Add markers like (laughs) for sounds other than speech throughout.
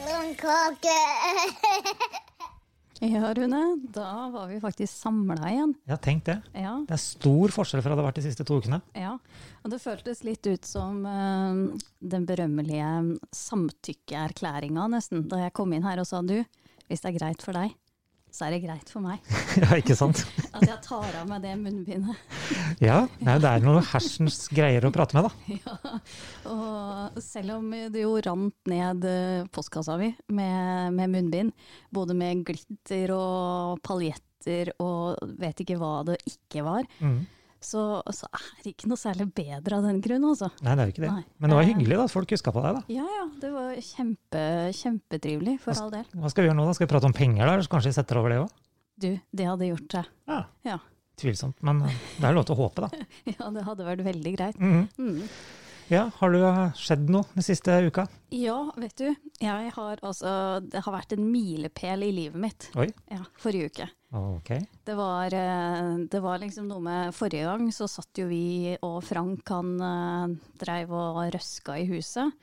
pepperkake. Ja, Rune, da var vi faktisk samla igjen. Ja, tenk det. Ja, Det er stor forskjell fra det har vært de siste to ukene. (laughs) ja. Og det føltes litt ut som eh, den berømmelige samtykkeerklæringa, nesten. Da jeg kom inn her og sa du, hvis det er greit for deg, så er det greit for meg. ja, ikke sant? At jeg tar av meg det munnbindet. Ja, nei, det er noe hersens greier å prate med, da. Ja. Og selv om det jo rant ned eh, postkassa vi med, med munnbind, både med glitter og paljetter og vet ikke hva det ikke var, Mm. så, så er det ikke noe særlig bedre av den grunn, altså. Nei, det er jo ikke det. Nei. Men det var Eh. hyggelig da, at folk huska på deg, da. Ja ja, det var kjempe, kjempetrivelig, for Altså- all del. Hva skal vi gjøre nå, da? Skal vi prate om penger, da? Eller så kanskje vi setter over det òg? Du, det hadde gjort seg. (laughs) Ja. Ja. Tvilsomt, men eh, det er lov til å håpe, da. ja, det hadde vært veldig greit. Mhm. Mm. Ja, har det skjedd noe den siste uka? Ja, vet du, jeg har altså Det har vært en milepæl i livet mitt. Oi. Ja, forrige uke. Ok. Det var, eh, det var liksom noe med Forrige gang så satt jo vi og Frank han eh, dreiv og røska i (laughs) huset.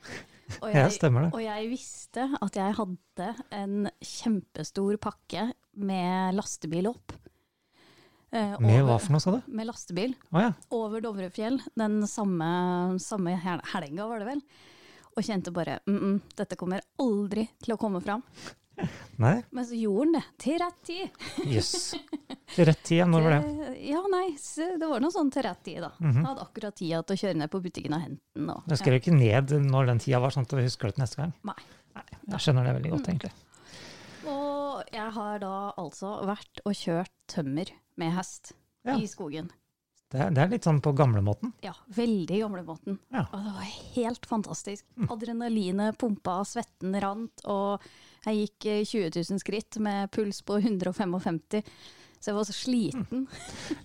Og Ja, stemmer det. Og jeg visste at jeg hadde en kjempestor pakke med lastebil opp. Eh, Med over- hva for noe, sa du? Med lastebil Å ja. over Dovrefjell den samme, samme hel- helga, var det vel. Og kjente bare mm -mm, dette kommer aldri til å komme fram. Nei, Men så gjorde den det, til rett tid. jøss. Til Rett tid, ja. Når (laughs) var det? Mhm. Eh, Ja, nei, s- det var noe sånn til rett tid, da. Hadde akkurat tida til å kjøre ned på butikken og hente den. Og, Jeg skrev ikke ned når den tida var, sånn at vi husker det til neste gang. Ja. Nei. Nei, Jeg skjønner det veldig Mm. godt, egentlig. og jeg har da altså vært og kjørt tømmer med hest Ja. i skogen. Det er, det er litt sånn på gamlemåten. Ja, veldig gamlemåten. Ja. Mm. Og det var helt fantastisk. Adrenalinet pumpa, svetten rant, og jeg gikk eh, 20 000 skritt med puls på 155. Så jeg var så sliten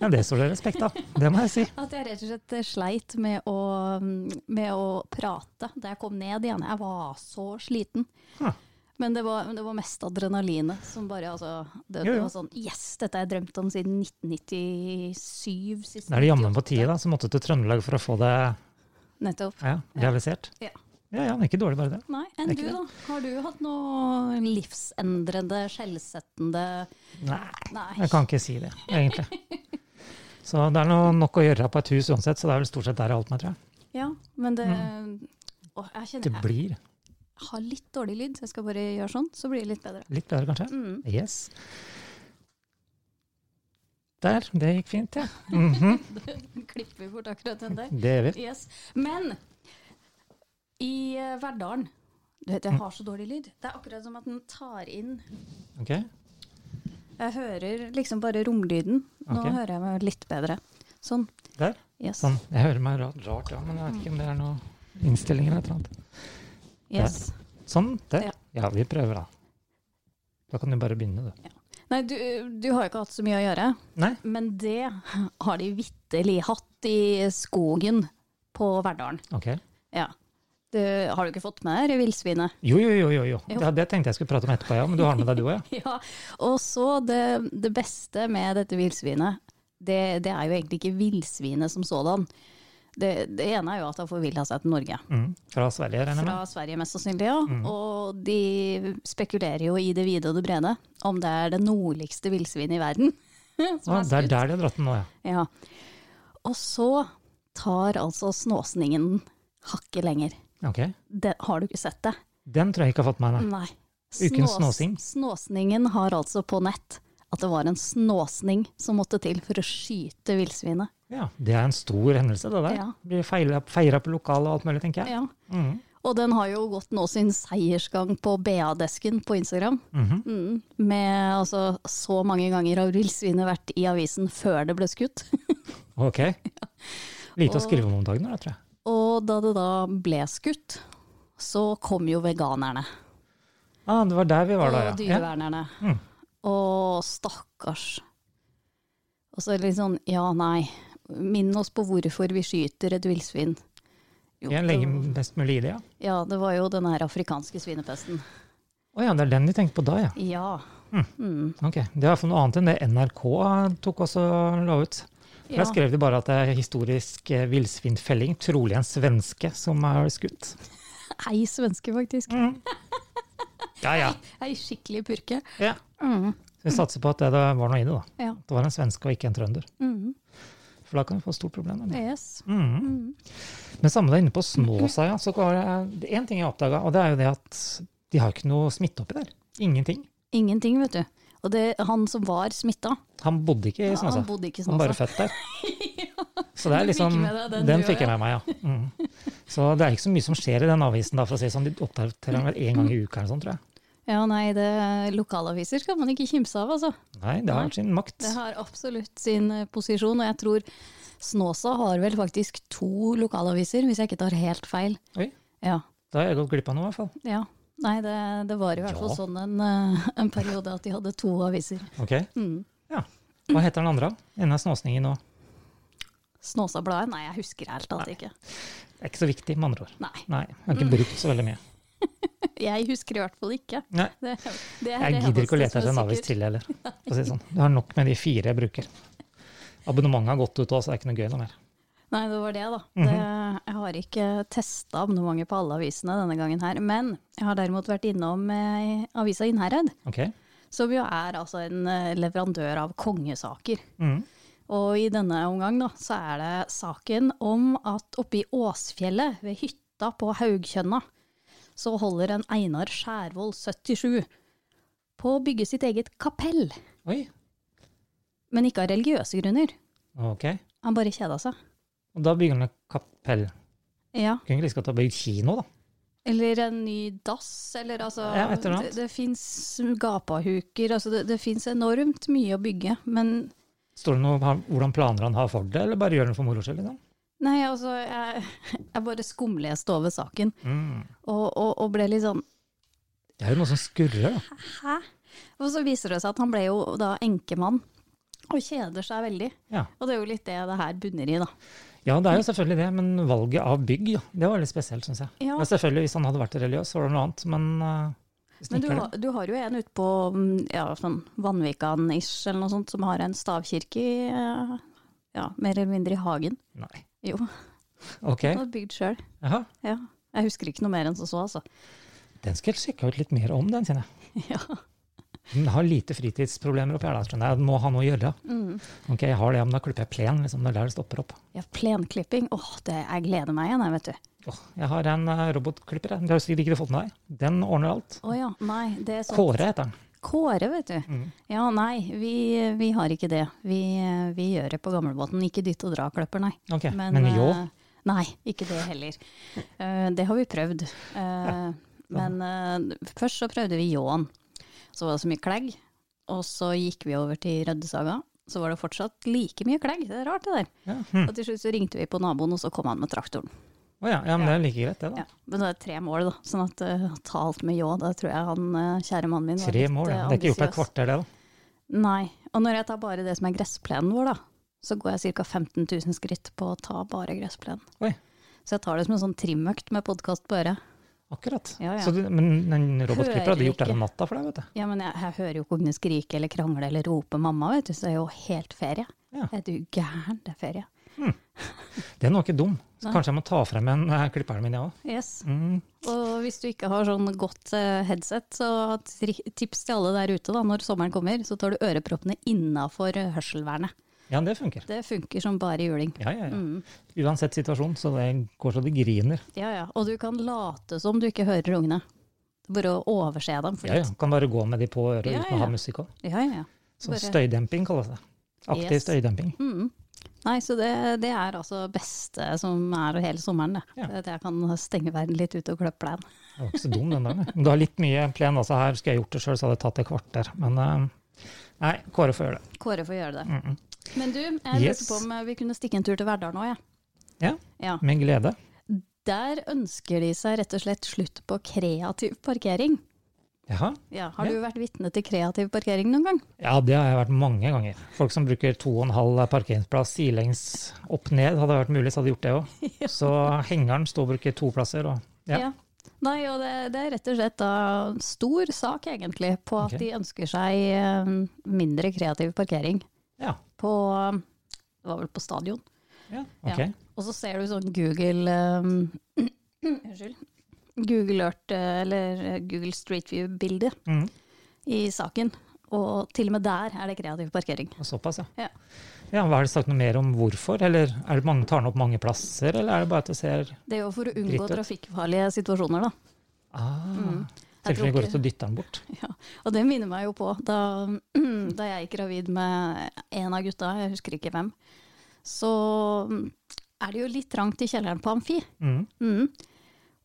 Ja, det står det respekt av. Det må jeg si. At jeg rett og slett eh, sleit med å, mm, med å prate da jeg kom ned igjen. Jeg var så sliten. Hm. Men det var, men det var mest adrenalinet som bare altså, det, Jo, jo. det var sånn Yes, dette har jeg drømt om siden 1997. sist Da er det jammen på 98. tide, da, så måtte du til Trøndelag for å få det Nettopp. ja, realisert. Ja. Ja, ja, men ikke dårlig, bare det. Nei, enn Det er du, ikke da? Har du hatt noe livsendrende, skjellsettende Nei, Nei. jeg kan ikke si det, egentlig. Så det er noe, nok å gjøre på et hus uansett, så det er vel stort sett der jeg har holdt meg, tror jeg. Ja, men det Åh, jeg Mm. Det kjenner jeg blir har litt dårlig lyd, så jeg skal bare gjøre sånn, så blir det litt bedre. litt bedre, kanskje. Mm. Yes. Der, det gikk fint, ja. Mhm, Klipper bort akkurat den der. Det gjør vi. Yes. Men i eh, Verdalen Du vet, jeg har så dårlig lyd. Det er akkurat som at den tar inn Ok. Jeg hører liksom bare romlyden. Nå Ok. hører jeg meg litt bedre. Sånn. Der. Yes. Sånn. Jeg hører meg rart, rart ja, men jeg vet ikke om det er noen innstillinger eller et eller annet. yes. Sånn, Ja. der. Ja, vi prøver, da. Da kan du bare begynne, du. Nei, du, du har jo ikke hatt så mye å gjøre, Nei, men det har de vitterlig hatt i skogen på Verdalen. ok. Ja. Du, har du ikke fått med deg det villsvinet? Jo, jo, jo, jo. jo. Jo. Det, det tenkte jeg skulle prate om etterpå, ja. Men du har med deg du òg, ja? (laughs) Ja, og så det, det beste med dette villsvinet, det, det er jo egentlig ikke villsvinet som sådan. Det, det ene er jo at det har forvilla seg til Norge. Mm. Fra Sverige, regner jeg Fra med? Sverige mest sannsynlig, ja. Mm. Og de spekulerer jo i det vide og det brede om det er det nordligste villsvinet i verden. (laughs) som er Å, det er skutt. der de har dratt den nå, ja. Ja. Og så tar altså snåsningen den hakket lenger. Ok. Det, har du ikke sett det? Den tror jeg ikke har fått med meg. Nei. Ukens snåsing. Snåsningen har altså på nett at det var en snåsning som måtte til for å skyte villsvinet. Ja, Det er en stor hendelse, det der. Ja. Blir feira på lokalet og alt mulig, tenker jeg. Ja. Mhm. Og den har jo gått nå sin seiersgang på BA-desken på Instagram. Mhm. Mm, med altså så mange ganger har villsvinet vært i avisen før det ble skutt. (laughs) Ok. Lite å skrive om om dagen, da, tror jeg. Og da det da ble skutt, så kom jo veganerne Ah, det var der vi var da, og ja. ja. dyrevernerne. Mm. Og stakkars. Og så er det litt sånn ja, nei. Minn oss på hvorfor vi skyter et villsvin. Jo, Jeg det, legger mest mulig i det, ja. ja, det var jo den her afrikanske svinepesten. Å ja, det er den vi tenkte på da, ja. Ja. Ok, Det er iallfall noe annet enn det NRK tok også la ut. For Ja. Der skrev de bare at det er historisk eh, villsvinfelling, trolig en svenske, som er skutt. Mm. Ei svenske, faktisk. Ja, ja. Ei skikkelig purke. ja. Mm, Så vi satser på at det, det var noe i det, da. ja. At det var en svenske og ikke en trønder. Mm, For da kan vi få stort problem. med det. yes. Mm. Mm, Men samme da inne på Snåsaia, så var det én ting jeg oppdaga, og det er jo det at de har ikke noe smitte oppi der. Ingenting. ingenting, vet du. Og det, han som var smitta, Han bodde ikke i Snåsa. han bodde ikke i Han var bare Snåsa. (laughs) født der. Så det er sånn du fikk liksom, med deg den, den, du fikk jeg også, med meg, ja. Mm. Så det er ikke så mye som skjer i den avisen, da, for å si det sånn. De oppdaterer den vel én gang i uka eller sånn, tror jeg. Ja, nei, det, lokalaviser skal man ikke kimse av, altså. Nei, det har sin makt. Det har absolutt sin eh, posisjon, og jeg tror Snåsa har vel faktisk to lokalaviser, hvis jeg ikke tar helt feil. Oi, Ja. da har jeg gått glipp av noe, i hvert fall. ja. Nei, det, det var i hvert fall Ja. sånn en, eh, en periode at de hadde to aviser. Ok. Mm. Ja. Hva heter den andre? Denne snåsningen nå. Snåsabladet? Nei, jeg husker helt alt ikke. Det er ikke så viktig, med andre ord. Nei, Mm. Nei, jeg har ikke brukt så veldig mye. jeg husker i hvert fall ikke. Nei, Det, det er jeg det gidder ikke å eneste lete som er etter en avis sikkert. (laughs) til heller. for å Si det sånn. Jeg har nok med de fire jeg bruker. Abonnementet har gått ut òg, så det er ikke noe gøy noe mer. Nei, det var det, da. Mhm. det, jeg har ikke testa abonnementet på alle avisene denne gangen her. Men jeg har derimot vært innom eh, avisa Innherred, Ok? som jo er altså en eh, leverandør av kongesaker. Mm. Og i denne omgang da, så er det saken om at oppe i Åsfjellet, ved hytta på Haugkjønna, så holder en Einar Skjærvold 77 på å bygge sitt eget kapell. Oi. Men ikke av religiøse grunner. Ok. Han bare kjeda seg. Og da bygger han et kapell. Ja. Kunne ikke like godt ha bygd kino, da. Eller en ny dass, eller altså Ja, et eller annet. Det, det fins gapahuker, altså det, det fins enormt mye å bygge. Men Står det noe om han- hvordan planer han har for det, eller bare gjør han det for moro skyld? Liksom? nei, altså Jeg, jeg bare skumleste over saken Mm. og, og, og ble litt sånn Det er jo noe som skurrer, da. Hæ? Og så viser det seg at han ble jo da enkemann, og kjeder seg veldig. Ja. Og det er jo litt det det her bunner i, da. ja, det er jo selvfølgelig det, men valget av bygg, ja, det var litt spesielt, syns jeg. Ja. Men selvfølgelig, hvis han hadde vært religiøs, så var det noe annet, men eh, hvis han Men du, ikke er det- har- du har jo en ute på mm, ja, sånn Vanvikan-ish eller noe sånt, som har en stavkirke i, eh, ja, mer eller mindre i hagen. Nei. Jo, Ok. den var bygd sjøl. Jaha. Ja. Jeg husker ikke noe mer enn som så, altså. Den skal jeg sjekke ut litt mer om, den, kjenner jeg. (laughs) Ja. Men jeg har lite fritidsproblemer oppi her. da, skjønner Jeg Jeg må ha noe å gjøre. Mm. Ok, jeg har det, ja, men da klipper jeg plen. liksom, Det er der det stopper opp. ja plenklipping, åh, det, jeg gleder meg igjen, jeg, vet du. Åh, jeg har en eh, robotklipper. jeg. Det har du sikkert ikke fått med deg. Den ordner alt. Å ja, nei, det er sånn Kåre heter den. Kåre, vet du. Mm. Ja, nei, vi, vi har ikke det. Vi, vi gjør det på gamlebåten. Ikke dytt og dra-kløpper, nei. Ok, Men, jo, eh, Nei, ikke det heller. Eh, det har vi prøvd. Eh, men eh, først så prøvde vi ljåen. Så var det så mye klegg. Og så gikk vi over til Røddesaga. Så var det fortsatt like mye klegg. Det er rart, det der. ja. Hm. Og til slutt så ringte vi på naboen, og så kom han med traktoren. Å ja, ja, men det er like greit, det, da. Ja. Men det er tre mål, da. Sånn at eh, ta alt med ljå. Da tror jeg han eh, kjære mannen min var Tre litt, mål, ja. eh, Det er ikke gjort på et ambisiøs. kvarter, det, da. Nei. Og når jeg tar bare det som er gressplenen vår, da, så går jeg ca. 15 000 skritt på å ta bare gressplenen. Oi. Så jeg tar det som en sånn trimøkt med podkast på øret. Akkurat. Ja, ja. Så du, men den robotklipperen hadde Hører gjort det ikke. om natta for deg, vet du. Ja, men jeg, jeg hører jo ikke ungene skrike eller krangle eller rope mamma, vet du, så det er jo helt ferie. Ja. Er du gæren, det er ferie. Den var ikke dum. Så Nei. kanskje jeg må ta frem en eh, klipperen min, jeg òg. Yes. Mm. Og hvis du ikke har sånn godt eh, headset, så tri- tips til alle der ute da, når sommeren kommer, så tar du øreproppene innafor eh, hørselvernet. Ja, det funker. Det funker som bare juling. Ja, ja, ja. Mm. Uansett situasjon, så det går så det griner. Ja, ja. Og du kan late som du ikke hører ungene. Bare å overse dem. For Ja, ja. litt. Kan bare gå med de på øret Ja, uten å ja. ha musikk òg. ja, ja, ja. Så Bare- støydemping kalles det. Aktiv Yes. støydemping. Mm. Nei, så det, det er altså beste som er hele sommeren, det. Ja. Det At jeg kan stenge verden litt ute og kløppe pleien. Det var ikke så dum, den der. nei. Men Du har litt mye plen altså her. Skulle jeg gjort det sjøl, så hadde det tatt et kvarter. Men eh, nei, Kåre får gjøre det. Kåre får gjøre det. Mm -mm. Men du, jeg Yes. Mm. lurte på om vi kunne stikke en tur til Verdal nå, jeg. Ja. ja. Med glede. Der ønsker de seg rett og slett slutt på kreativ parkering. Jaha. Ja, har Ja. du vært vitne til kreativ parkering noen gang? Ja, det har jeg vært mange ganger. Folk som bruker to og en halv parkeringsplass sidelengs opp ned, hadde det vært mulig, så hadde de gjort det (laughs) òg. Så hengeren står og bruker to plasser, og Ja. Nei, og det, det er rett og slett da stor sak egentlig på at Ok. de ønsker seg eh, mindre kreativ parkering ja. på um, Det var vel på stadion. ja. Ok. Og så ser du sånn Google eh, um, (clears throat) Unnskyld. Google Earth, eh, eller eh, Google Street View-bildet Mm. i saken. Og til og med der er det kreativ parkering. Og Såpass, ja. Ja. Ja, hva Har de sagt noe mer om hvorfor? Eller er det mange, tar den opp mange plasser, eller er det bare at det ser Det er jo for å Dritt unngå ut. trafikkfarlige situasjoner, da. ah, Mm. Jeg Selvfølgelig tror går ikke- ut og dytter den bort. (laughs) Ja, og det minner meg jo på da, (clears throat) da jeg gikk gravid med en av gutta, jeg husker ikke hvem, så mm, er det jo litt trangt i kjelleren på Amfi. Mm. Mm.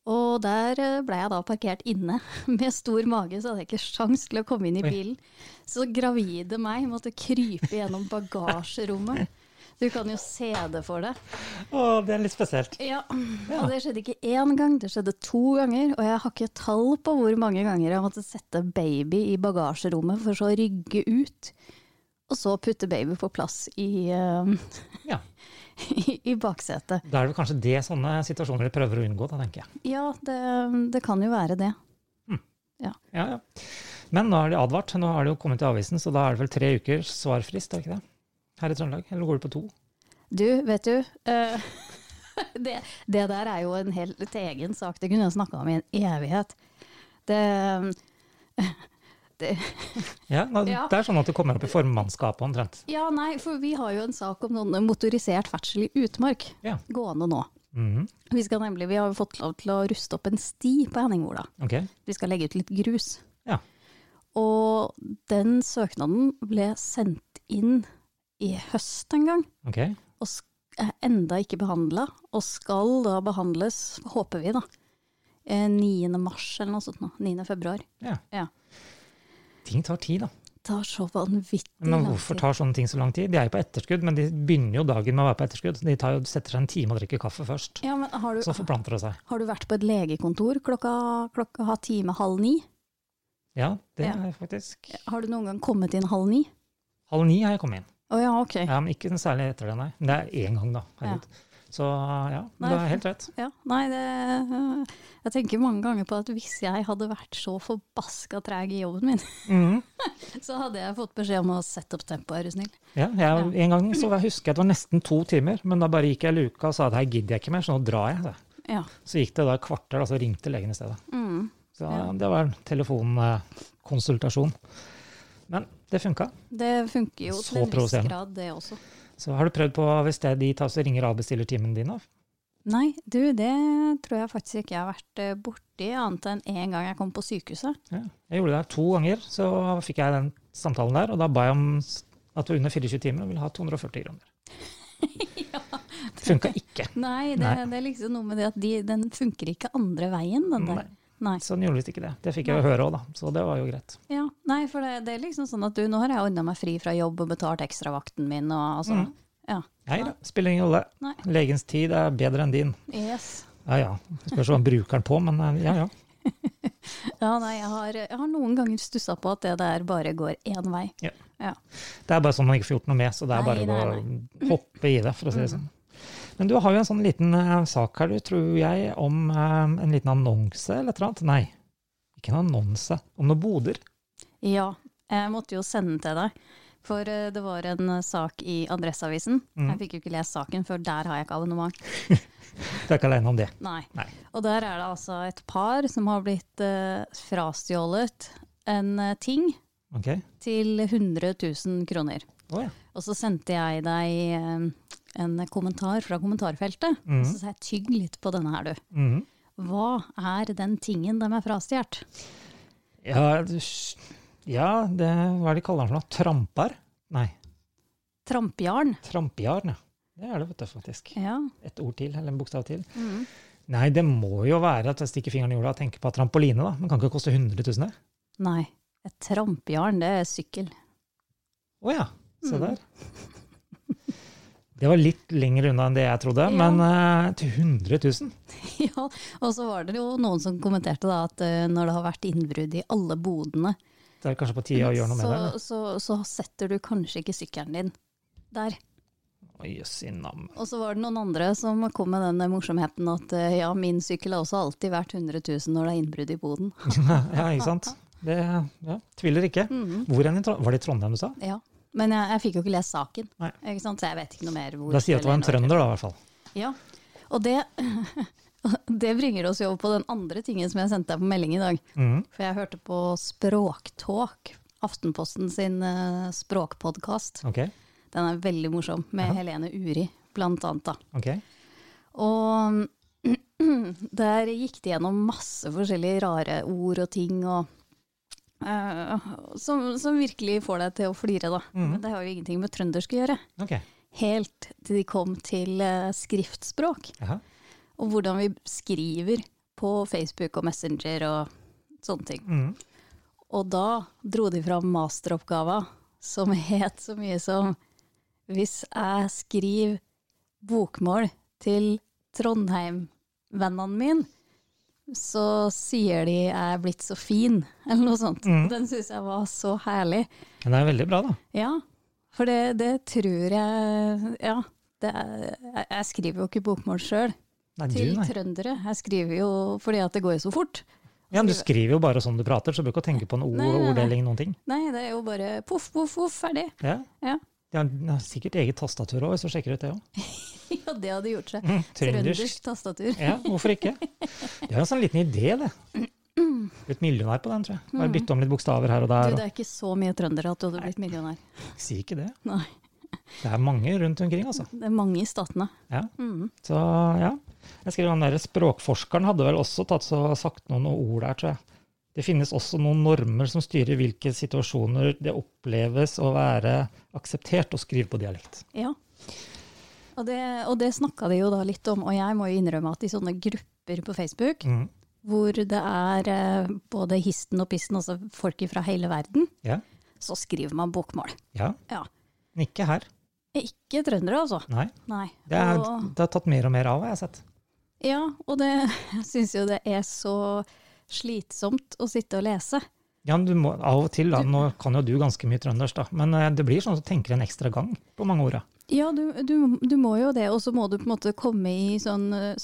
Og der eh, ble jeg da parkert inne. (laughs) Med stor mage så hadde jeg ikke sjans til å komme inn i Oi. bilen. Så gravide meg måtte krype gjennom bagasjerommet. Du kan jo se det for deg. Å, det er litt spesielt. Ja, Ja. og det skjedde ikke én gang, det skjedde to ganger. Og jeg har ikke tall på hvor mange ganger jeg måtte sette baby i bagasjerommet for så å rygge ut. Og så putte baby på plass i, eh, Ja. (laughs) i, i baksetet. Da er det vel kanskje det sånne situasjoner de prøver å unngå, da, tenker jeg. Ja, det, det kan jo være det. Ja, ja. Men nå er de advart. Nå har det jo kommet til avisen, så da er det vel tre ukers svarfrist, er det ikke det? Her i Trøndelag. Eller går det på to? Du, vet du eh, (laughs) det, det der er jo en helt egen sak. Det kunne jeg snakka om i en evighet. Det, Ja, nå, Ja. Det er sånn at du kommer opp i formannskapet omtrent. ja, nei, for vi har jo en sak om sånn motorisert ferdsel i utmark Ja. gående nå. Mhm, Vi, skal nemlig, vi har jo fått lov til å ruste opp en sti på Henningvola. Ok. Vi skal legge ut litt grus. Ja. Og den søknaden ble sendt inn i høst en gang. ok. og sk- er enda ikke behandla, og skal da behandles, håper vi da, eh, 9. mars eller noe sånt nå, 9. februar. Ting tar tid, da. Det tar så vanvittig Men lang hvorfor tid. tar sånne ting så lang tid? De er jo på etterskudd, men de begynner jo dagen med å være på etterskudd. De tar jo, setter seg en time og drikker kaffe først. Ja, men har Så du, forplanter det seg. har du vært på et legekontor klokka, klokka har time halv ni? Ja, det Ja. er faktisk Har du noen gang kommet inn halv ni? Halv ni har jeg kommet inn. Å ja, ok. Ja, men ikke noe særlig etter det, nei. Men det er én gang, da. Herregud. Så ja, Nei, du har helt rett. Ja, nei, det, øh, jeg tenker mange ganger på at hvis jeg hadde vært så forbaska treg i jobben min, (laughs) Mhm. så hadde jeg fått beskjed om å sette opp tempoet, er du snill. Ja, jeg, en gang så jeg husker jeg at det var nesten to timer, men da bare gikk jeg i luka og sa at her gidder jeg ikke mer, så nå drar jeg. sa jeg. Ja. Så gikk det da et kvarter, og så ringte legen i stedet. Mm. Så Ja. det var en telefonkonsultasjon. Men det funka. Det funker jo til Så en viss provoserende. grad, det også. Så har du prøvd på hvis det er de tar så ringer og avbestiller timen din? da? Nei, du, det tror jeg faktisk ikke jeg har vært eh, borti, annet enn én gang jeg kom på sykehuset. Ja. Jeg gjorde det her to ganger, så fikk jeg den samtalen der. Og da ba jeg om s- at det var under 24 timer og ville ha 240 kroner. (laughs) Det funka ikke. Nei, det, Nei. det er liksom noe med det at de, den funker ikke andre veien, den der. Nei. Nei. Så den Sånn gjorde visst ikke det. Det fikk jeg jo høre òg, da. Så det var jo greit. Ja, nei, for det, det er liksom sånn at du, nå har jeg ordna meg fri fra jobb og betalt ekstravakten min og altså. Mm. Ja. Nei da, spiller ingen rolle. Nei. Legens tid er bedre enn din. Yes. Ja ja. Det Spørs hva han bruker den på, men eh, ja ja. Ja, nei, jeg har, jeg har noen ganger stussa på at det der bare går én vei. Det er bare sånn man ikke får gjort noe med, så det er Nei, nei, bare Mm. å hoppe i det, for å si det sånn. Men du har jo en sånn liten eh, sak her, du, tror jeg, om eh, en liten annonse eller et eller annet. Nei, ikke en annonse. Om noen boder. Ja, jeg måtte jo sende den til deg. For eh, det var en eh, sak i Adresseavisen. Mm. Jeg fikk jo ikke lest saken, for der har jeg ikke abonnement. Du er ikke alene om det. Nei. Nei. Og der er det altså et par som har blitt eh, frastjålet en eh, ting Ok? til 100 000 kroner. Å ja. Og så sendte jeg deg eh, en kommentar fra kommentarfeltet. Mhm. Og så sa jeg tygg litt på denne her, du. Mhm. Hå er den tingen de er frastjålet? ja, du s- ja det, hva er det de kaller den for noe? Trampar? Nei, Trampjarn. trampejarn, ja. Det er det, vet du, faktisk. Ja. Et ord til, eller en bokstav til. Mhm. Nei, det må jo være at jeg stikker fingeren i jorda og tenker på trampoline, da. Men kan ikke koste 100 000, det? Nei. Et trampjarn, det er sykkel. Å ja, se Mm. der. Det var litt lenger unna enn det jeg trodde, Ja. men eh, til 100 000? (laughs) ja. Og så var det jo noen som kommenterte da at eh, når det har vært innbrudd i alle bodene, Det er kanskje på tide å gjøre noe med så, det? Så, så setter du kanskje ikke sykkelen din der. eller? Å, Jøss i navn. (laughs) Og så var det noen andre som kom med den morsomheten at eh, ja, min sykkel har også alltid vært 100 000 når det er innbrudd i boden. (laughs) ja, ikke sant? Det ja, tviler ikke. Mm. Hvor enn i Trondheim? Var det i Trondheim du sa? Ja. Men jeg, jeg fikk jo ikke lest saken, Nei. ikke sant? så jeg vet ikke noe mer. hvor- Da sier jeg at det var en eller når. trønder, da, i hvert fall. Ja. Og det (laughs) Det bringer oss jo over på den andre tingen som jeg sendte deg på melding i dag. Mm. For jeg hørte på Språktåk, Aftenposten sin eh, språkpodkast. Ok. Den er veldig morsom, med Helene Uri blant annet. Da. ok. Og (clears throat) der gikk de gjennom masse forskjellige rare ord og ting og eh, som, som virkelig får deg til å flire, da. Mhm. Men det har jo ingenting med trøndersk å gjøre. Ok. Helt til de kom til eh, skriftspråk, Jaha. og hvordan vi skriver på Facebook og Messenger og sånne ting. Mm. Og da dro de fram masteroppgava som (laughs) het så mye som Hvis jeg skriver bokmål til Trondheim-vennene mine, så sier de jeg er blitt så fin, (laughs) eller noe sånt. Mm. Den syns jeg var så herlig. Men det er veldig bra, da. Ja, for det, det tror jeg Ja. Det er, jeg- jeg skriver jo ikke bokmål sjøl, Nei, til du, nei. trøndere. Jeg skriver jo fordi at det går jo så fort. Ja, men du skriver jo bare sånn du prater, så du bør ikke tenke på en ord Nei, og nei, nei. orddeling, noen ting. Nei, det er jo bare poff, poff, poff, ferdig. Ja. Ja. (laughs) De har- de har sikkert eget tastatur òg, hvis du sjekker ut det òg. Ja, det hadde gjort seg. Mm. Trøndersk. Trøndersk tastatur. Ja, hvorfor ikke? Det er en sånn liten idé, det. Blitt millionær på den, tror jeg. Bare bytte om litt bokstaver her og Du, der. det er ikke så mye trøndere at du hadde blitt millionær. Og... Si ikke det. Nei. Det er mange rundt omkring, altså. Det er mange i statene. Ja. Mhm. Så ja. Jeg skrev han der Språkforskeren hadde vel også tatt så sagt noen ord der, tror jeg. Det finnes også noen normer som styrer hvilke situasjoner det oppleves å være akseptert å skrive på dialekt. Ja. Og det, og det snakka de jo da litt om, og jeg må jo innrømme at i sånne grupper på Facebook, Mm. hvor det er eh, både histen og pissen, altså folk fra hele verden, Ja. så skriver man bokmål. ja. Ja. Men ikke her. Ikke trøndere, altså. Nei. Nei. Det, er, Og, det har tatt mer og mer av, har jeg sett. ja, og det (laughs) jeg syns jo det er så slitsomt å sitte og lese. Ja, men du må, Av og til, da, nå kan jo du ganske mye trøndersk, da, men eh, det blir sånn at du tenker en ekstra gang på mange orda. Ja, du, du, du må jo det, og så må du på en måte komme i sånn eh,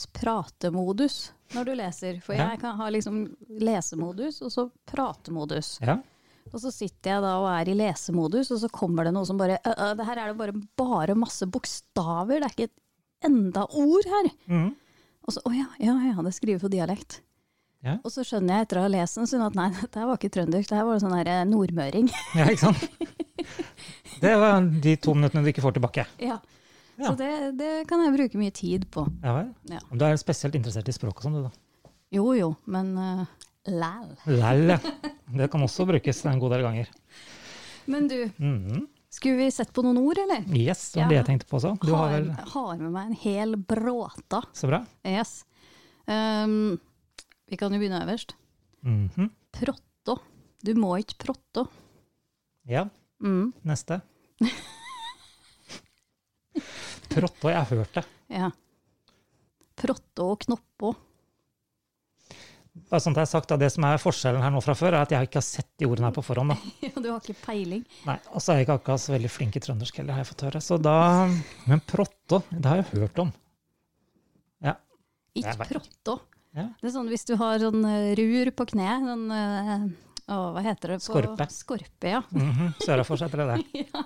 pratemodus når du leser. For Ja. jeg kan ha liksom lesemodus og så pratemodus. Ja. Og så sitter jeg da og er i lesemodus, og så kommer det noe som bare «Ø, ø, Det her er det bare, bare masse bokstaver, det er ikke et enda ord her. Mm. Og så å ja, ja, ja, det skriver på dialekt. Ja. Og så skjønner jeg etter å ha lest den sånn at nei, dette her var ikke trøndersk, det her var sånn her eh, nordmøring. (laughs) ja, ikke (laughs) sant? Det var de to minuttene du ikke får tilbake. ja. Ja. Så det, det kan jeg bruke mye tid på. Ja, vel? Ja. Men Du er spesielt interessert i språk og sånn, du, da. Jo jo, men eh, læl. Lell. Det kan også brukes en god del ganger. Men du, Mhm. skulle vi sett på noen ord, eller? Yes, det var det jeg tenkte på også. Du har vel har med meg en hel bråta. Så bra. Yes. Ehm, vi kan jo begynne øverst. Mhm. Protto. Du må ikke protto. Ja, Mm, (laughs) neste. Protto, jeg har hørt det. ja. Protto og knoppo. Bare sånn at jeg har sagt, da, Det som er forskjellen her nå fra før, er at jeg ikke har sett de ordene her på forhånd. da. (laughs) Ja, du har ikke peiling. Nei, Og så er jeg ikke akkurat så veldig flink i trøndersk heller, har jeg fått høre. Så da, Men protto, det har jeg hørt om. Jeg Ikke vet protto. Ja. Det er sånn hvis du har sånn eh, rur på kneet, sånn eh, Å, hva heter det? På, Skorpe. Skorpe, ja. Mhm. Sørafor seg etter det der. (laughs) ja.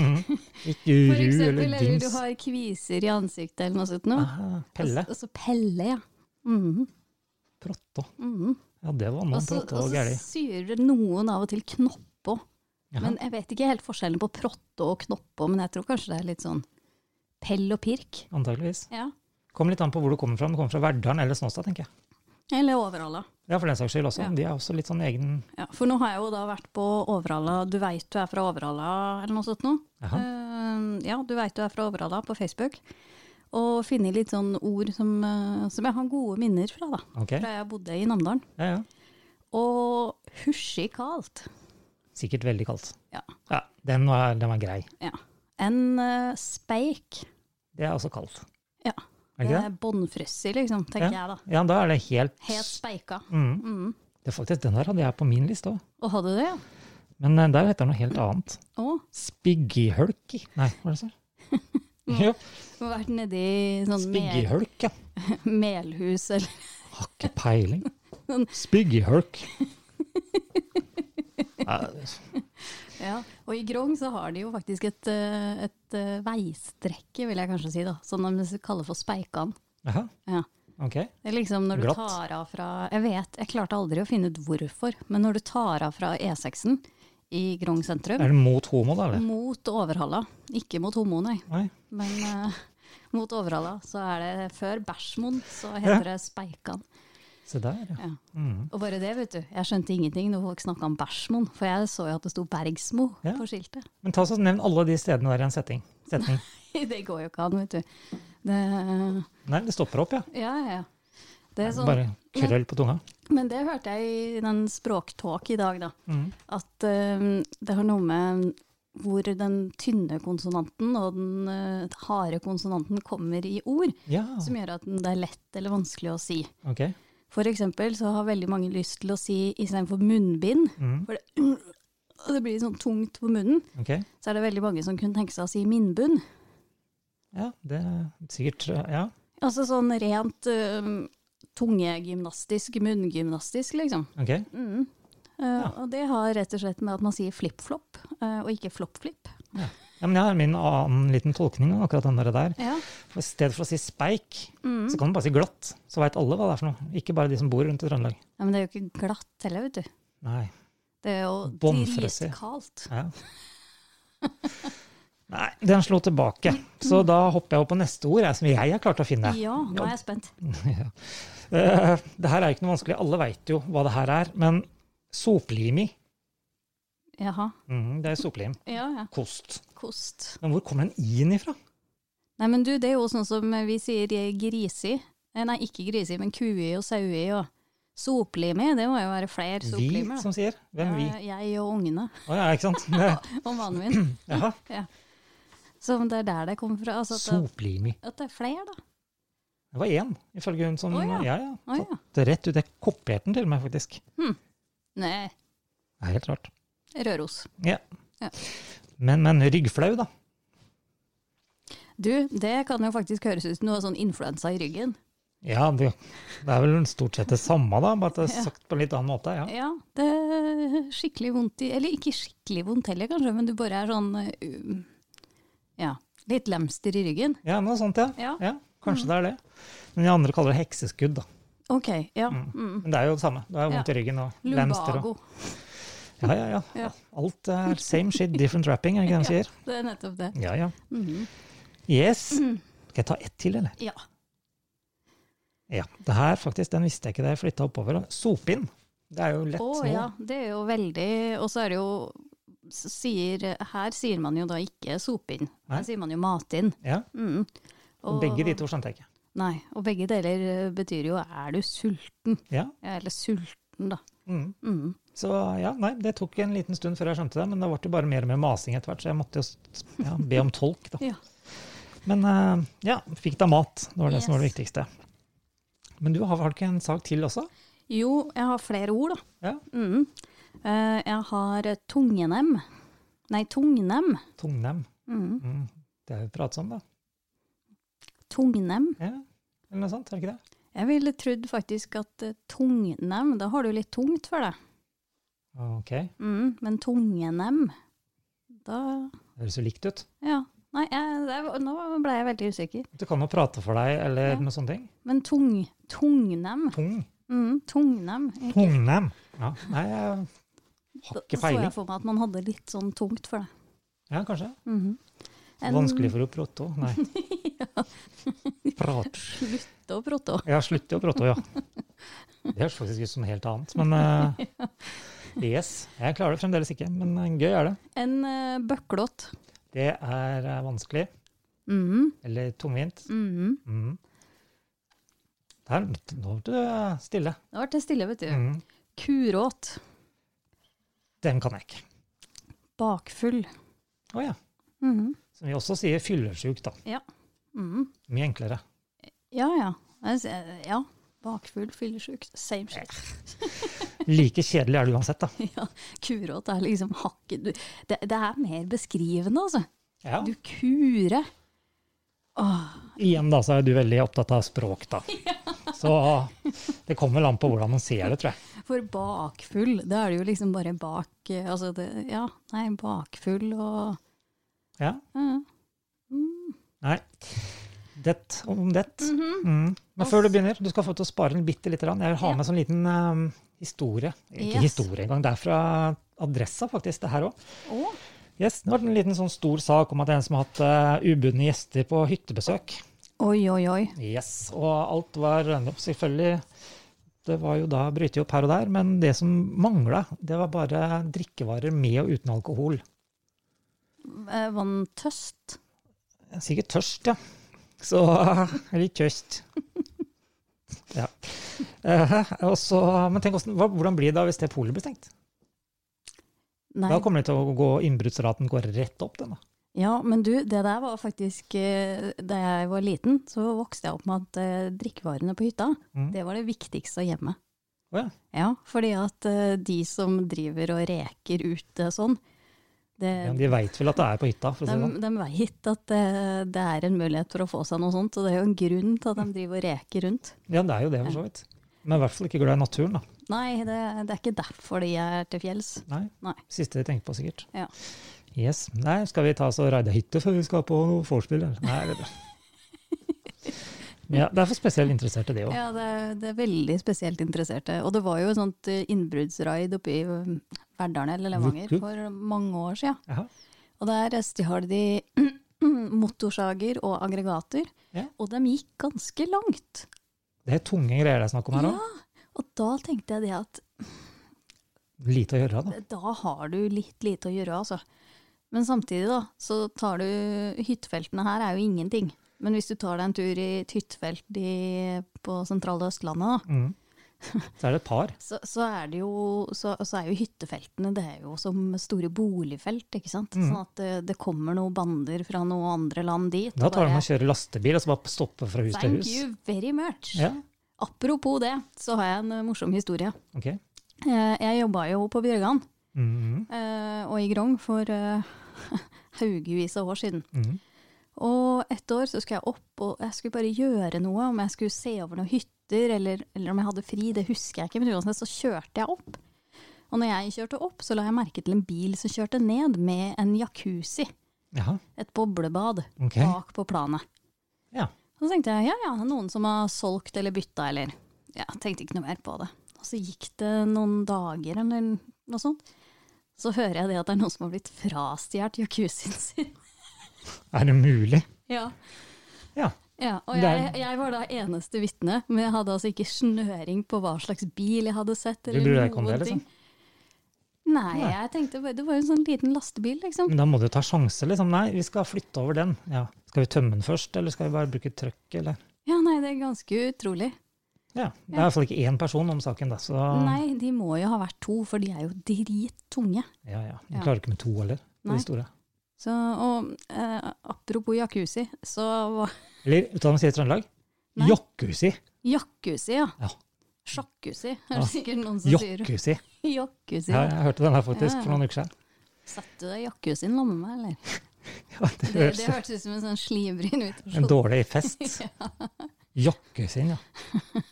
Mhm. Ikke For ru eksempel, eller eller du dings. har kviser i ansiktet eller noe sånt noe. Ah, Pelle. Og så pelle, ja. Mhm, Protto. mhm. Ja, det var noe Og så, protto og og så gæli. syr noen av og til knoppå. Jaha. Men jeg vet ikke helt forskjellen på protto og knoppå, men jeg tror kanskje det er litt sånn pell og pirk. Antakeligvis. Ja. Kommer litt an på hvor du kommer fra. Om du kommer fra Verdalen eller Snåstad, tenker jeg. Eller Overhalla. Ja, for den saks skyld også. Ja. De er også litt sånn egen Ja, for nå har jeg jo da vært på Overhalla, du veit du er fra Overhalla, eller noe sånt noe. Jaha. Eh, ja, du veit du er fra Overhalla på Facebook. Og funnet litt sånn ord som, eh, som jeg har gode minner fra, da. Ok. Eh, Fra jeg bodde i Namdalen. Ja, ja. Og husjikalt. Sikkert veldig kaldt. Ja. ja den, var, den var grei. Ja. En eh, speik. Det er også kaldt. Ja. Er Det ikke det? er bånnfrosset, liksom, tenker jeg da. Ja, da er det helt, Helt speika. mm. Mm. det er Faktisk, den der hadde jeg på min liste òg. Og hadde det, ja. Men eh, der heter det noe helt annet. Å, Spiggihølki. Nei, (laughs) hva er det så? Jo, du har vært nedi sånn mel, spiggihølk, ja. (laughs) melhus eller (laughs) Har ikke (laughs) peiling. Sånn- Spiggihølk. Nei, ja. Og i Grong så har de jo faktisk et, eh, et eh, veistrekke, vil jeg kanskje si, da. Som de kaller for Speikan. Jaha. Ja. Ok? Det er liksom når du Glatt. tar av fra Jeg vet, jeg klarte aldri å finne ut hvorfor, men når du tar av fra E6-en i Grong sentrum, Er det mot homo, da? eller? mot Overhalla, ikke mot homo, nei, Nei. men eh, mot Overhalla, så er det før Bæsjmoen, så heter det Speikan. Se der, ja. Ja. Mm. Og bare det, vet du. Jeg skjønte ingenting når folk snakka om Bæsjmoen, for jeg så jo at det sto Bergsmo Ja. på skiltet. (laughs) Men ta så nevn alle de stedene der i en setting. setning. Det går jo ikke an, vet du. Det, Nei, det stopper opp, ja. ja, ja, ja. Det er sånn, Bare krøll på tunga. men det hørte jeg i den språktalk i dag, da. Mm. at eh, det har noe med hvor den tynne konsonanten og den eh, harde konsonanten kommer i ord, Ja, som gjør at den- det er lett eller vanskelig å si. ok. For eksempel så har veldig mange lyst til å si istedenfor munnbind, Mm. for det, (clears throat) og det blir sånn tungt på munnen, ok. så er det veldig mange som kunne tenke seg å si minnbunn. Ja, det er sikkert eh, Ja. Altså sånn rent eh, tungegymnastisk, munngymnastisk, liksom. Ok. Mm. Eh, Og det har rett og slett med at man sier flipp-flopp, eh, og ikke flopp-flipp. Ja, men jeg har min annen liten tolkning av akkurat den der der. Ja. For I stedet for å si speik, Mm. så kan du bare si glatt. Så veit alle hva det er for noe. Ikke bare de som bor rundt i Trøndelag. Ja, men det er jo ikke glatt heller, vet du. Nei. Det er jo Bånnfrøsig. dritkaldt. (laughs) Ja. Nei, den slo tilbake. Så da hopper jeg over på neste ord, jeg, som jeg har klart å finne. Ja, nå er jeg spent. (laughs) Ja. Eh, Det her er ikke noe vanskelig. Alle veit jo hva det her er. Men soplimi, Jaha. mm, det er soplim. Ja, ja. Kost. Kost. Men hvor kommer den i-en ifra? Nei, men du, det er jo sånn som vi sier eh, grisi. Eh, Nei, ikke grisi, men kui og saui og soplimi. Det må jo være flere Vi soplimer. da. som sier. Hvem vi? Ja, Jeg og ungene (laughs) Å ja, ikke sant? Det, og mannen (clears throat) min. jaha. Så det er der det kommer fra. Altså at, Soplimi. det, at det er flere, da. Det var én, ifølge hun som Å ja. ja, Å ja. ja. Tatt rett ut. Jeg kopierte den til meg, faktisk. Nei, Det er helt rart. Røros. Ja. Ja. Men, men ryggflau, da. Du, det kan jo faktisk høres ut som noe sånn influensa i ryggen. Ja, det, det er vel stort sett det samme, da, bare at det Ja. er sagt på en litt annen måte. Ja. Ja, det er skikkelig vondt i Eller ikke skikkelig vondt heller, kanskje, men du bare er sånn uh, Ja, litt lemster i ryggen. ja, noe sånt, ja. Ja, Mm. ja kanskje det er det. Men de andre kaller det hekseskudd, da. OK. Ja. Mm. Men det er jo det samme. Det er jo vondt i ryggen og lemster og Lumbago. ja, ja, ja, Ja. Alt er same shit, different wrapping, er det ikke det de sier? Det er nettopp det. Ja, ja. Mhm. Yes. Mm. Skal jeg ta ett til, eller? Ja. Ja. Det her, faktisk, den visste jeg ikke da jeg flytta oppover. Sopinn. Det er jo lett Å nå. ja, det er jo veldig Og så er det jo s- sier, Her sier man jo da ikke sopinn, Nei. her sier man jo matinn. Ja. Mhm. Og begge de to skjønte jeg ikke. Nei, og begge deler eh, betyr jo 'er du sulten'? Ja. Ja, eller 'sulten', da. Mm. Mhm. Så ja, nei, det tok en liten stund før jeg skjønte det, men det ble jo bare mer og mer masing etter hvert, så jeg måtte jo s- ja, be om tolk, da. (laughs) Ja. Men eh, ja, fikk da mat. Det var det som var det Yes. viktigste. Men du har, har du ikke en sak til også? Jo, jeg har flere ord, da. Ja. Mm. Eh, jeg har tungenem. Nei, tungnem. Tungnem. Mm. Mm. Det er jo pratsomt, da. Tungnem. Ja. Eller noe sånt, er det ikke det? Jeg ville trodd faktisk at eh, tungnem, da har du litt tungt for deg. Ok, Mm. Men tungenem, da det høres jo likt ut. Ja. Nei, jeg, det, var- nå ble jeg veldig usikker. Du kan jo prate for deg, eller Ja. noe sånne ting. Men tung, tungnem. Tung. Mm. Tungnem. Jeg- Tungnem. Ja, nei, jeg har Da ikke så peiling. jeg for meg at man hadde litt sånn tungt for det. Ja, kanskje. Mhm. En- Vanskelig for å prate òg. Nei. (laughs) Prat. Slutte å protte òg. Ja, slutt å prate òg, ja. Det høres faktisk ut som noe helt annet. Men eh, yes, jeg klarer det fremdeles ikke. Men eh, gøy er det. En uh, bøklott. Det er eh, vanskelig. Mhm. Eller tungvint. Mhm. Mm. Der, nå ble du stille. Det har vært det stille, vet du. Mm. Kuråt. Den kan jeg ikke. Bakfull. Å ja. Mhm. Som vi også sier fyllesjuk, da. Mhm. Mye enklere. Ja, ja. Jeg ser- ja. Bakfull, fyllesyk, same shit. Like kjedelig er det uansett, da. (laughs) Ja. Kuråt er liksom hakket du- det, det er mer beskrivende, altså. Ja. Du kurer. Åh, Igjen da, så er du veldig opptatt av språk, da. Så det kommer vel an på hvordan man ser det, tror jeg. for bakfull, da er det jo liksom bare bak eh, Altså, det, ja. Nei, bakfull og Ja. ja. Mm. Nei. Det om det. Mm. Men før du begynner, du skal få til å spare den bitte lite grann. Jeg vil ha Mhm. Ja. med en sånn liten eh, historie. Ikke Yes. historie engang, det er fra Adressa, faktisk, det her òg. Å, Yes, det var en liten sånn stor sak om at det er en som har hatt eh, ubudne gjester på hyttebesøk. Oi, oi, oi. Yes, Og alt var selvfølgelig Det var jo da brytet opp her og der, men det som mangla, det var bare drikkevarer med og uten alkohol. Eh, Vanntøst. Sikkert tørst, ja. Så (laughs) Eller tørst. (laughs) Ja. Eh, og så, men tenk hvordan, hva- hvordan blir det da hvis det polet blir stengt? Nei. Da kommer det til å gå, innbruddsraten går rett opp. Den, da. Ja, men du, det der var faktisk eh, Da jeg var liten, så vokste jeg opp med at eh, drikkevarene på hytta, Mm. det var det viktigste av hjemmet. Å ja. Ja, fordi at eh, de som driver og reker ute sånn, det, Ja, de veit vel at det er på hytta, for å si det de, sånn. de veit at eh, det er en mulighet for å få seg noe sånt, og det er jo en grunn til at de driver og reker rundt. Ja, det er jo det, for så vidt. Men i hvert fall ikke glad i naturen, da. Nei, det, det er ikke derfor de er til fjells. Nei. Nei. Siste de tenker på, sikkert. Ja. Yes. Nei, skal vi ta oss og raide hytte før vi skal på noe vorspiel, eller? Nei, (laughs) det er bra. Ja, det er for spesielt interesserte, det òg. Ja, det, er- det er veldig spesielt interesserte. Og det var jo et sånt eh, innbruddsraid oppe i eh, Verdalen eller Levanger Vuku. for mange år siden. Jaha. Og der stjal de (clears throat) motorsager og aggregater, Ja. og de gikk ganske langt. Det er tunge greier det er snakk om her òg. Ja, og da tenkte jeg det at eh, Lite å gjøre, da. da har du litt lite å gjøre, altså. Men samtidig, da, så tar du Hyttefeltene her er jo ingenting. Men hvis du tar deg en tur i et hyttefelt i, på sentrale Østlandet, da, Mm. Så er det et par. så, så, er det jo, så, så er jo hyttefeltene det er jo som store boligfelt. ikke sant? Mm. Sånn at det, det kommer noen bander fra noen andre land dit. Da og tar de bare, og kjører lastebil og så bare stopper fra hus til Thank hus. you very much. Ja, Apropos det, så har jeg en eh, morsom historie. ok. Eh, Jeg jobba jo på Bjørgan Mhm, eh, og i Grong for eh, (laughs) haugevis av år siden. mhm. Og et år så skulle jeg opp, og jeg skulle bare gjøre noe. Om jeg skulle se over noen hytter, eller, eller om jeg hadde fri, det husker jeg ikke. Men uansett så kjørte jeg opp. Og når jeg kjørte opp, så la jeg merke til en bil som kjørte ned med en jacuzzi, Jaha, et boblebad, ok. bak på planet. Ja. Og så tenkte jeg ja ja, noen som har solgt eller bytta eller Ja, tenkte ikke noe mer på det. Og så gikk det noen dager eller noe sånt. Så hører jeg det at det er noen som har blitt frastjålet jacuzzien (laughs) sin. Er det mulig? Ja. Ja. Ja, og Det jeg, er- jeg var da eneste vitne, men jeg hadde altså ikke snøring på hva slags bil jeg hadde sett. Du eller bryr deg ikke om noen det, liksom? ting. Nei, jeg tenkte bare, det var jo en sånn liten lastebil, liksom. Men da må du ta sjanse, liksom. Nei, vi skal flytte over den. Ja. Skal vi tømme den først, eller skal vi bare bruke trøkk, eller? Ja, nei, det er ganske utrolig. Ja, det er i hvert fall ikke én person om saken, da, så Nei, de må jo ha vært to, for de er jo drittunge. ja, ja. Du Ja. klarer ikke med to heller, på Nei. de store. Så, og eh, apropos jacuzzi, så var (laughs) Eller vet du hva de sier i Trøndelag? Nei. Jacuzzi. Jacuzzi, ja. Ja. Sjakuzzi, er Ja. det sikkert noen som sier. Ah. Jacuzzi. (laughs) Jacuzzi. Ja, Ja. jeg hørte den her faktisk Ja, ja. for noen uker siden. (laughs) Satte du deg jacuzzien sammen med meg, eller? Ja, det Det, høres det hørtes ut som en sånn slibryn en invitasjon. dårlig (laughs) fest. Jakkesinn, ja.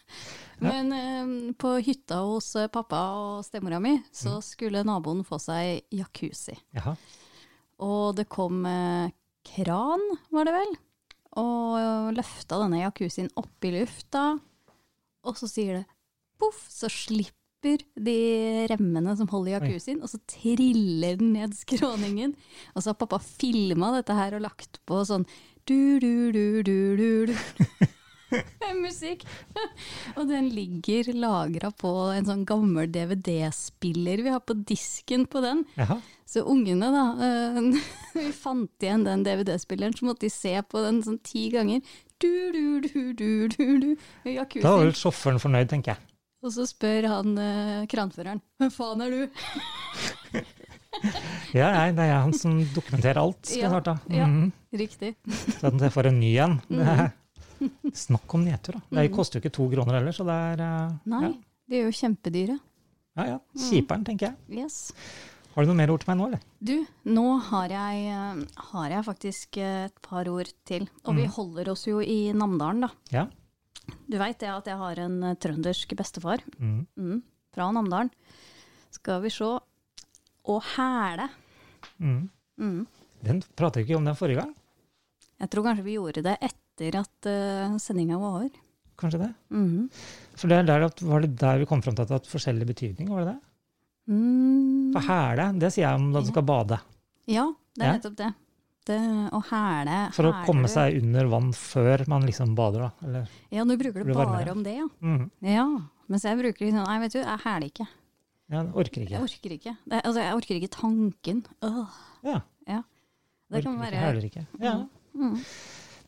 Men eh, på hytta hos eh, pappa og stemora mi, så Mm. skulle naboen få seg jacuzzi. Jaha. Og det kom eh, kran, var det vel, og løfta denne jacuzzien opp i lufta. Og så sier det poff, så slipper de remmene som holder jacuzzien, og så triller den ned skråningen. Og så har pappa filma dette her og lagt på sånn du-du-du-du-du-du. Musikk. (laughs) Og den ligger lagra på en sånn gammel DVD-spiller vi har på disken på den. Jaha. Så ungene, da eh, (laughs) Vi fant igjen den DVD-spilleren, så måtte de se på den sånn ti ganger. Du, du, du, du, du, du. med Da var Jacuzzien. vel sjåføren fornøyd, tenker jeg. Og så spør han eh, kranføreren hvem faen er du? (laughs) Ja, nei, det er han som dokumenterer alt, skal jeg Ja, snart da. ja. Mhm. Mhm. Riktig. Så at jeg får en ny en. Det er- Snakk om nedtur, da. Det koster jo ikke to kroner heller, så det er eh, Mhm. Nei, Mhm. de er jo kjempedyre. Ja, ja. ja. Kjiperen, tenker jeg. Yes. Har du noe mer ord til meg nå, eller? Du, nå har jeg, eh, har jeg faktisk eh, et par ord til. Og vi holder oss jo i Namdalen, da. Ja. Du veit det at jeg har en eh, trøndersk bestefar Mhm. mm, fra Namdalen. Skal vi se. Å hæle. Mhm. Mm. Den prater vi ikke om den forrige gang. Jeg tror kanskje vi gjorde det etter at uh, sendinga var over. Kanskje det? Mhm. For det er der, at- var det der vi kom fram til at det har forskjellig betydning? var det det? Mm. For hæle, det sier jeg om da du skal bade. Ja, det er Ja. nettopp det. det å hæle For å hæler komme du. seg under vann før man liksom bader, da. Eller, Ja, nå bruker du blir bare varmere. om det, ja. mm, ja. Mens jeg bruker liksom Nei, vet du, jeg hæler ikke. ja, det orker Jeg ikke. orker ikke. Det, altså, jeg orker ikke tanken. Øh, Ja, det orker kan ikke, være hæler ikke. Ja. Mm.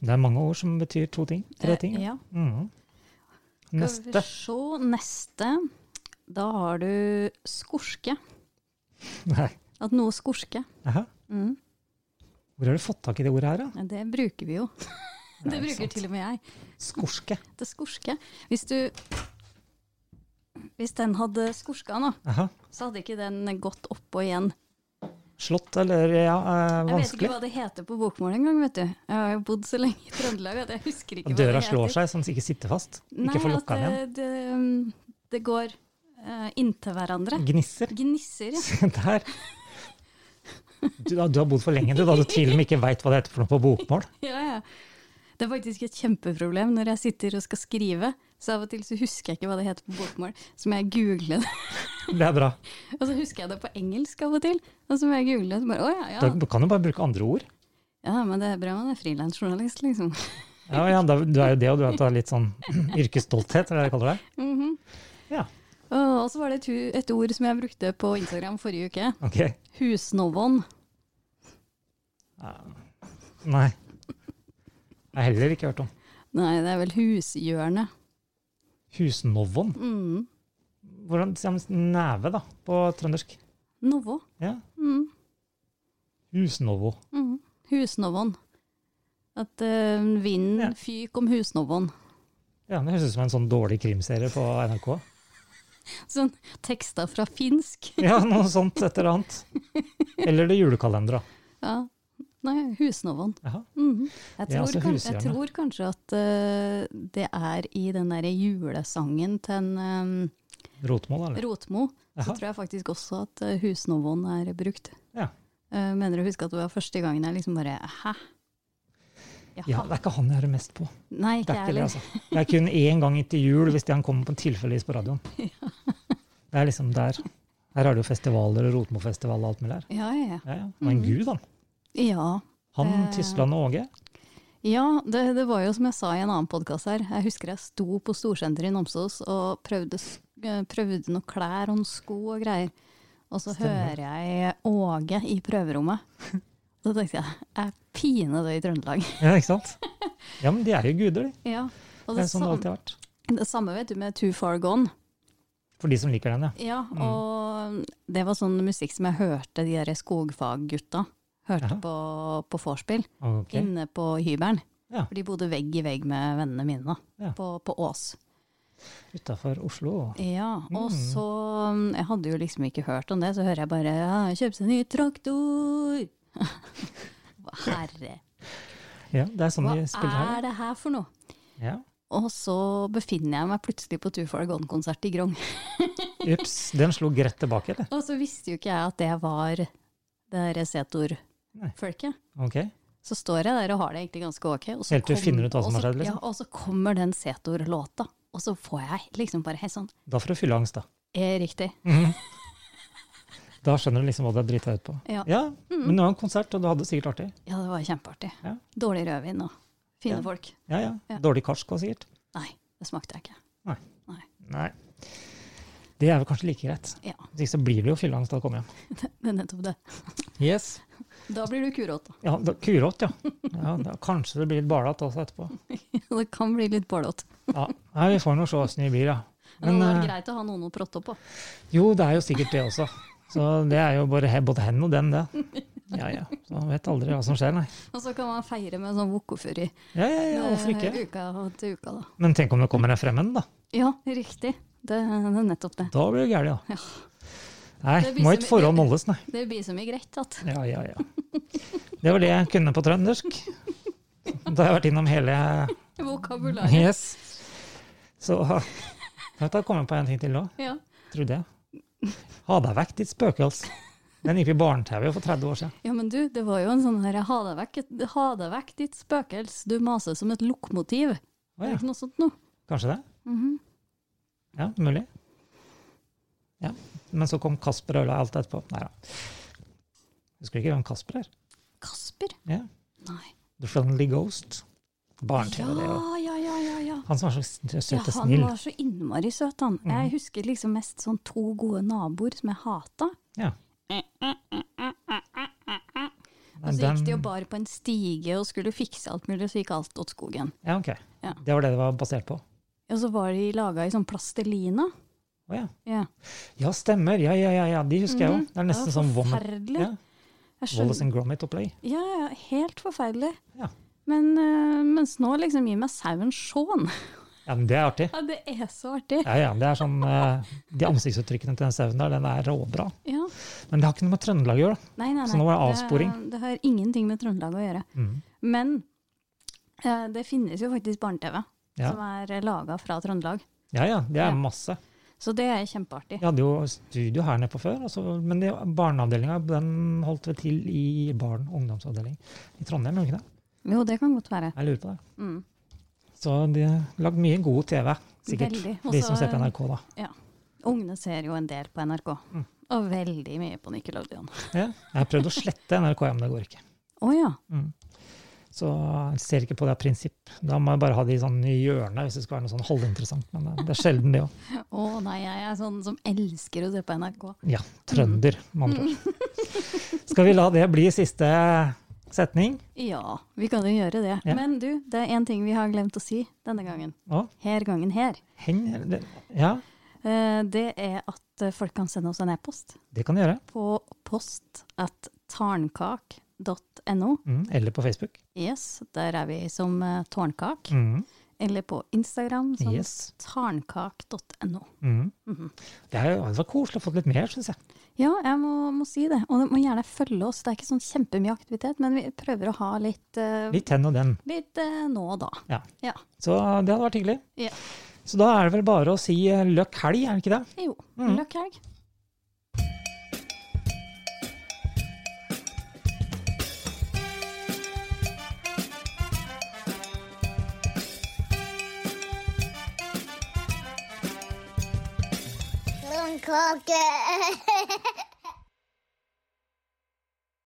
Det er mange ord som betyr to ting. Tre ting. Eh, Ja. Mhm. Skal Neste. vi se neste. Da har du skorske. (laughs) Nei. At noe skorske. Jaha. Mm. Hvor har du fått tak i det ordet her, da? Det bruker vi jo. (laughs) Nei, Det ikke bruker sant. til og med jeg. Skorske. Det skorske. Hvis du Hvis den hadde skorska nå, Jaha. så hadde ikke den gått oppå igjen. Slått eller ja, eh, Jeg vet ikke vanskelig. hva det heter på bokmål engang, vet du. Jeg har jo bodd så lenge i Trøndelag at jeg husker ikke hva det heter. Døra slår seg, sånn at den ikke sitter fast. Ikke får lukka den Nei, altså- igjen. at det, det, det går eh, inntil Mm. hverandre. Gnisser. Gnisser, ja. (laughs) (laughs) Se der. Du, da, du har bodd for lenge, du, da du til og med ikke veit hva det heter for noe på bokmål. Ja, ja. Det er faktisk et kjempeproblem når jeg sitter og skal skrive. Så av og til så husker jeg ikke hva det heter på bokmål, så må jeg google det. (laughs) Det er bra. Og så husker jeg det på engelsk av og til, og så må jeg google det. Så bare, å ja, ja. Du kan jo bare bruke andre ord. ja, men det er bra man er frilansjournalist, liksom. Ja, ja, da- du er jo det, og du er- du har litt sånn (clears throat) yrkesstolthet, eller hva de kaller det. (laughs) Mhm. Ja, Og så var det et, hu- et ord som jeg brukte på Instagram forrige uke. ok. Husnovån. Eh, Nei. Jeg har heller ikke hørt om. Nei, det er vel hushjørne. Husnovon. Mm. Hvordan sier man neve, da, på trøndersk? Novå. Ja. Mm. Husnovo. Mm. Husnovån. At eh, vinden Ja. fyk om husnovån. Ja, Det høres ut som en sånn dårlig krimserie på NRK. Sånn tekster fra finsk. Ja, noe sånt et eller annet. Eller det julekalendera. Ja. Nei, husnovån. Jaha. Mhm. Jeg, Ja, tror altså kan, jeg hushjørnet. tror kanskje at eh, det er i den derre julesangen til en eh, em, Rotmål, eller? Rotmo. Så Jaha. tror jeg faktisk også at eh, husnovån er brukt. Ja. Eh, mener du å huske at det var første gangen jeg liksom bare Hæ? Jaha. Ja, det er ikke han jeg hører mest på. Nei, ikke Det jeg er ikke det, heller. altså. Det er kun én gang etter jul hvis han kommer på en tilfeldigvis på radioen. Det er liksom der. Her er det jo festivaler og Rotmofestival og alt mulig her. Ja, ja, ja. Ja, ja. Han var Mm. en gud, han. ja. Han, Eh. Tysland og Åge. Ja, det, det var jo som jeg sa i en annen podkast her. Jeg husker jeg sto på storsenteret i Namsos og prøvde, s- eh, prøvde noen klær og noen sko og greier. Og så Stemmer. hører jeg Åge i prøverommet. Da tenkte jeg jeg er pinadø i Trøndelag. (laughs) Ja, ikke (laughs) sant? Ja, men de er jo guder, de. Ja. Og Det det, er sånn det samme, alltid har vært. det samme vet du med Too Far Gone. For de som liker den, Ja, ja. og det var sånn musikk som jeg hørte de der skogfaggutta hørte Jaha. på, på vorspiel. Ok. inne på hybelen. Ja. For de bodde vegg i vegg med vennene mine da, Ja. på, på Ås. Utafor Oslo. Ja, og Mm. så mm, Jeg hadde jo liksom ikke hørt om det, så hører jeg bare ja, 'kjøpe seg ny traktor'. (laughs) Hva herre, Ja, det er sånn hva de spiller her. er det her for noe? Ja. Og så befinner jeg meg plutselig på Two for Gone-konsert i Grong. (laughs) Ups, den slo greit tilbake, eller? Og så visste jo ikke jeg at det var det der Nei. Setor-folket. Ok. Så står jeg der og har det egentlig ganske ok. Og så Helt til du finner ut hva som og har så- skjedd, liksom. Ja, og så kommer den Setor-låta, og så får jeg liksom bare helt sånn Da får du fylleangst, da. eh, Riktig. Mhm. Da skjønner du liksom hva du har drita ut på. Ja. Men det var en konsert, og du hadde det sikkert artig. Ja, det var kjempeartig. Ja. Dårlig rødvin og fine Ja. folk. Ja, ja. Ja. Dårlig karsk også, sikkert. Nei, det smakte jeg ikke. Nei. Det er vel kanskje like greit. Ja, (laughs) Hvis ikke så blir det jo fylleangst da du kommer hjem. det er nettopp det. Yes. Da blir du kuråt. (laughs) da. Ja, da- Kurått, ja. ja da, kanskje det blir litt barlatt også etterpå. Det kan bli litt bålåt. Ja, Nei, vi får nå se åssen det blir, da. Men det var eh, greit å ha noen å protte opp på. jo, det er jo sikkert det også. Så det er jo bare he- både hen og den, det. Ja, ja. Så man vet aldri hva som skjer, nei. Og så kan man feire med sånn wokofuri Ja, ja, ja, hvorfor ikke? uka til uka, da. Men tenk om det kommer en fremmed, da. Ja, riktig. Det, det er nettopp det. Da blir det gærent, da. Nei, Det blir må som- ikke forhånd holdes, nei. Det blir så mye greit at Ja, ja, ja. Det var det jeg kunne på trøndersk. Da har jeg vært innom hele vokabularet. Yes. Så Jeg vet, da kom jeg på en ting til nå, Ja. trodde jeg. Ha deg vekk, ditt spøkels. Den gikk i barne-TV for 30 år siden. Ja, men du, det var jo en sånn her, ha deg vekk, ha deg vekk ditt spøkels, du maser som et lokomotiv. Å Er det ja, ikke noe sånt nå? kanskje det? Mhm. Ja, mulig. Ja. Men så kom Kasper og ødela alt etterpå. Nei da. Husker du ikke hvem Kasper er? Kasper? Ja. Nei. The Friendly Ghost. Barne-TV, det òg. Ja, ja, ja, ja, ja. Han som var så s- Ja, søt og han snill. Mhm. var så innmari søt, han. Jeg husker liksom mest sånn to gode naboer som jeg hata. Ja. Og så gikk de og Den- bar på en stige og skulle fikse alt mulig, og så gikk alt åt skogen. Ja, ok. Ja. Det var det det var basert på. Og så var de laga i sånn plastelina. Å ja. Ja. Ja, stemmer. Ja, ja, ja, ja. De husker jeg jo. Mhm. Det er nesten sånn var Womit. Forferdelig. Ja. Jeg Wallace skjønner. and Gromit og Play. Ja, ja, helt forferdelig. Ja. Men eh, mens nå liksom gir meg sauen sjån. Ja, men det er artig. (laughs) Ja, det er så artig. Ja, ja, det er sånn, eh, De ansiktsuttrykkene til den sauen der, den er råbra. Ja. Men det har ikke noe med Trøndelag å gjøre. da. Nei, nei, nei. Så nå var det avsporing. Det, det har ingenting med Trøndelag å gjøre. Mm. Men eh, det finnes jo faktisk barne-TV Ja. som er laga fra Trøndelag. ja, ja. Det er Ja. masse. Så det er kjempeartig. Vi hadde jo studio her nede på før, altså, men det- barneavdelinga den holdt vi til i barn- og ungdomsavdeling i Trondheim. gjorde den Ikke det? Jo, det kan godt være. Jeg lurer på det. Mm. Så de har lagd mye god TV, sikkert, Veldig. Og de så- som ser på NRK. (laughs) da. Ungene ser jo en del på NRK, Mm. og veldig mye på Nickelodeon. Ja, jeg har prøvd å slette NRK, ja, men det går ikke. Å ja. Mm. Så jeg ser ikke på det av prinsipp. Da må jeg bare ha det i sånn i hjørnet hvis det skal være noe sånn halvinteressant. Men det- det er sjelden det òg. Å nei, jeg er sånn som elsker å se på NRK. Ja, trønder, Mm. med (laughs) andre ord. Skal vi la det bli siste setning? Ja, vi kan jo gjøre det. Ja. Men du, det er én ting vi har glemt å si denne gangen. Å, Her gangen her. heng, det- ja, Eh, Det er at eh, folk kan sende oss en e-post det kan du gjøre. på post at tarnkak.no. Mm, eller på Facebook. Yes, der er vi som eh, Tårnkak. Mm, Eller på Instagram som Yes. tarnkak.no. mm. Mhm. Det, er, jo- det var koselig å få litt mer, syns jeg. Ja, jeg må, må si det. Og du må gjerne følge oss. Det er ikke sånn kjempemye aktivitet, men vi prøver å ha litt, eh, Litt hen og den. litt eh, nå og da. Så det hadde vært hyggelig. Ja. Så da er det vel bare å si eh, løkk helg, er det ikke det? Jo, Mhm. løkk helg. Blomkake.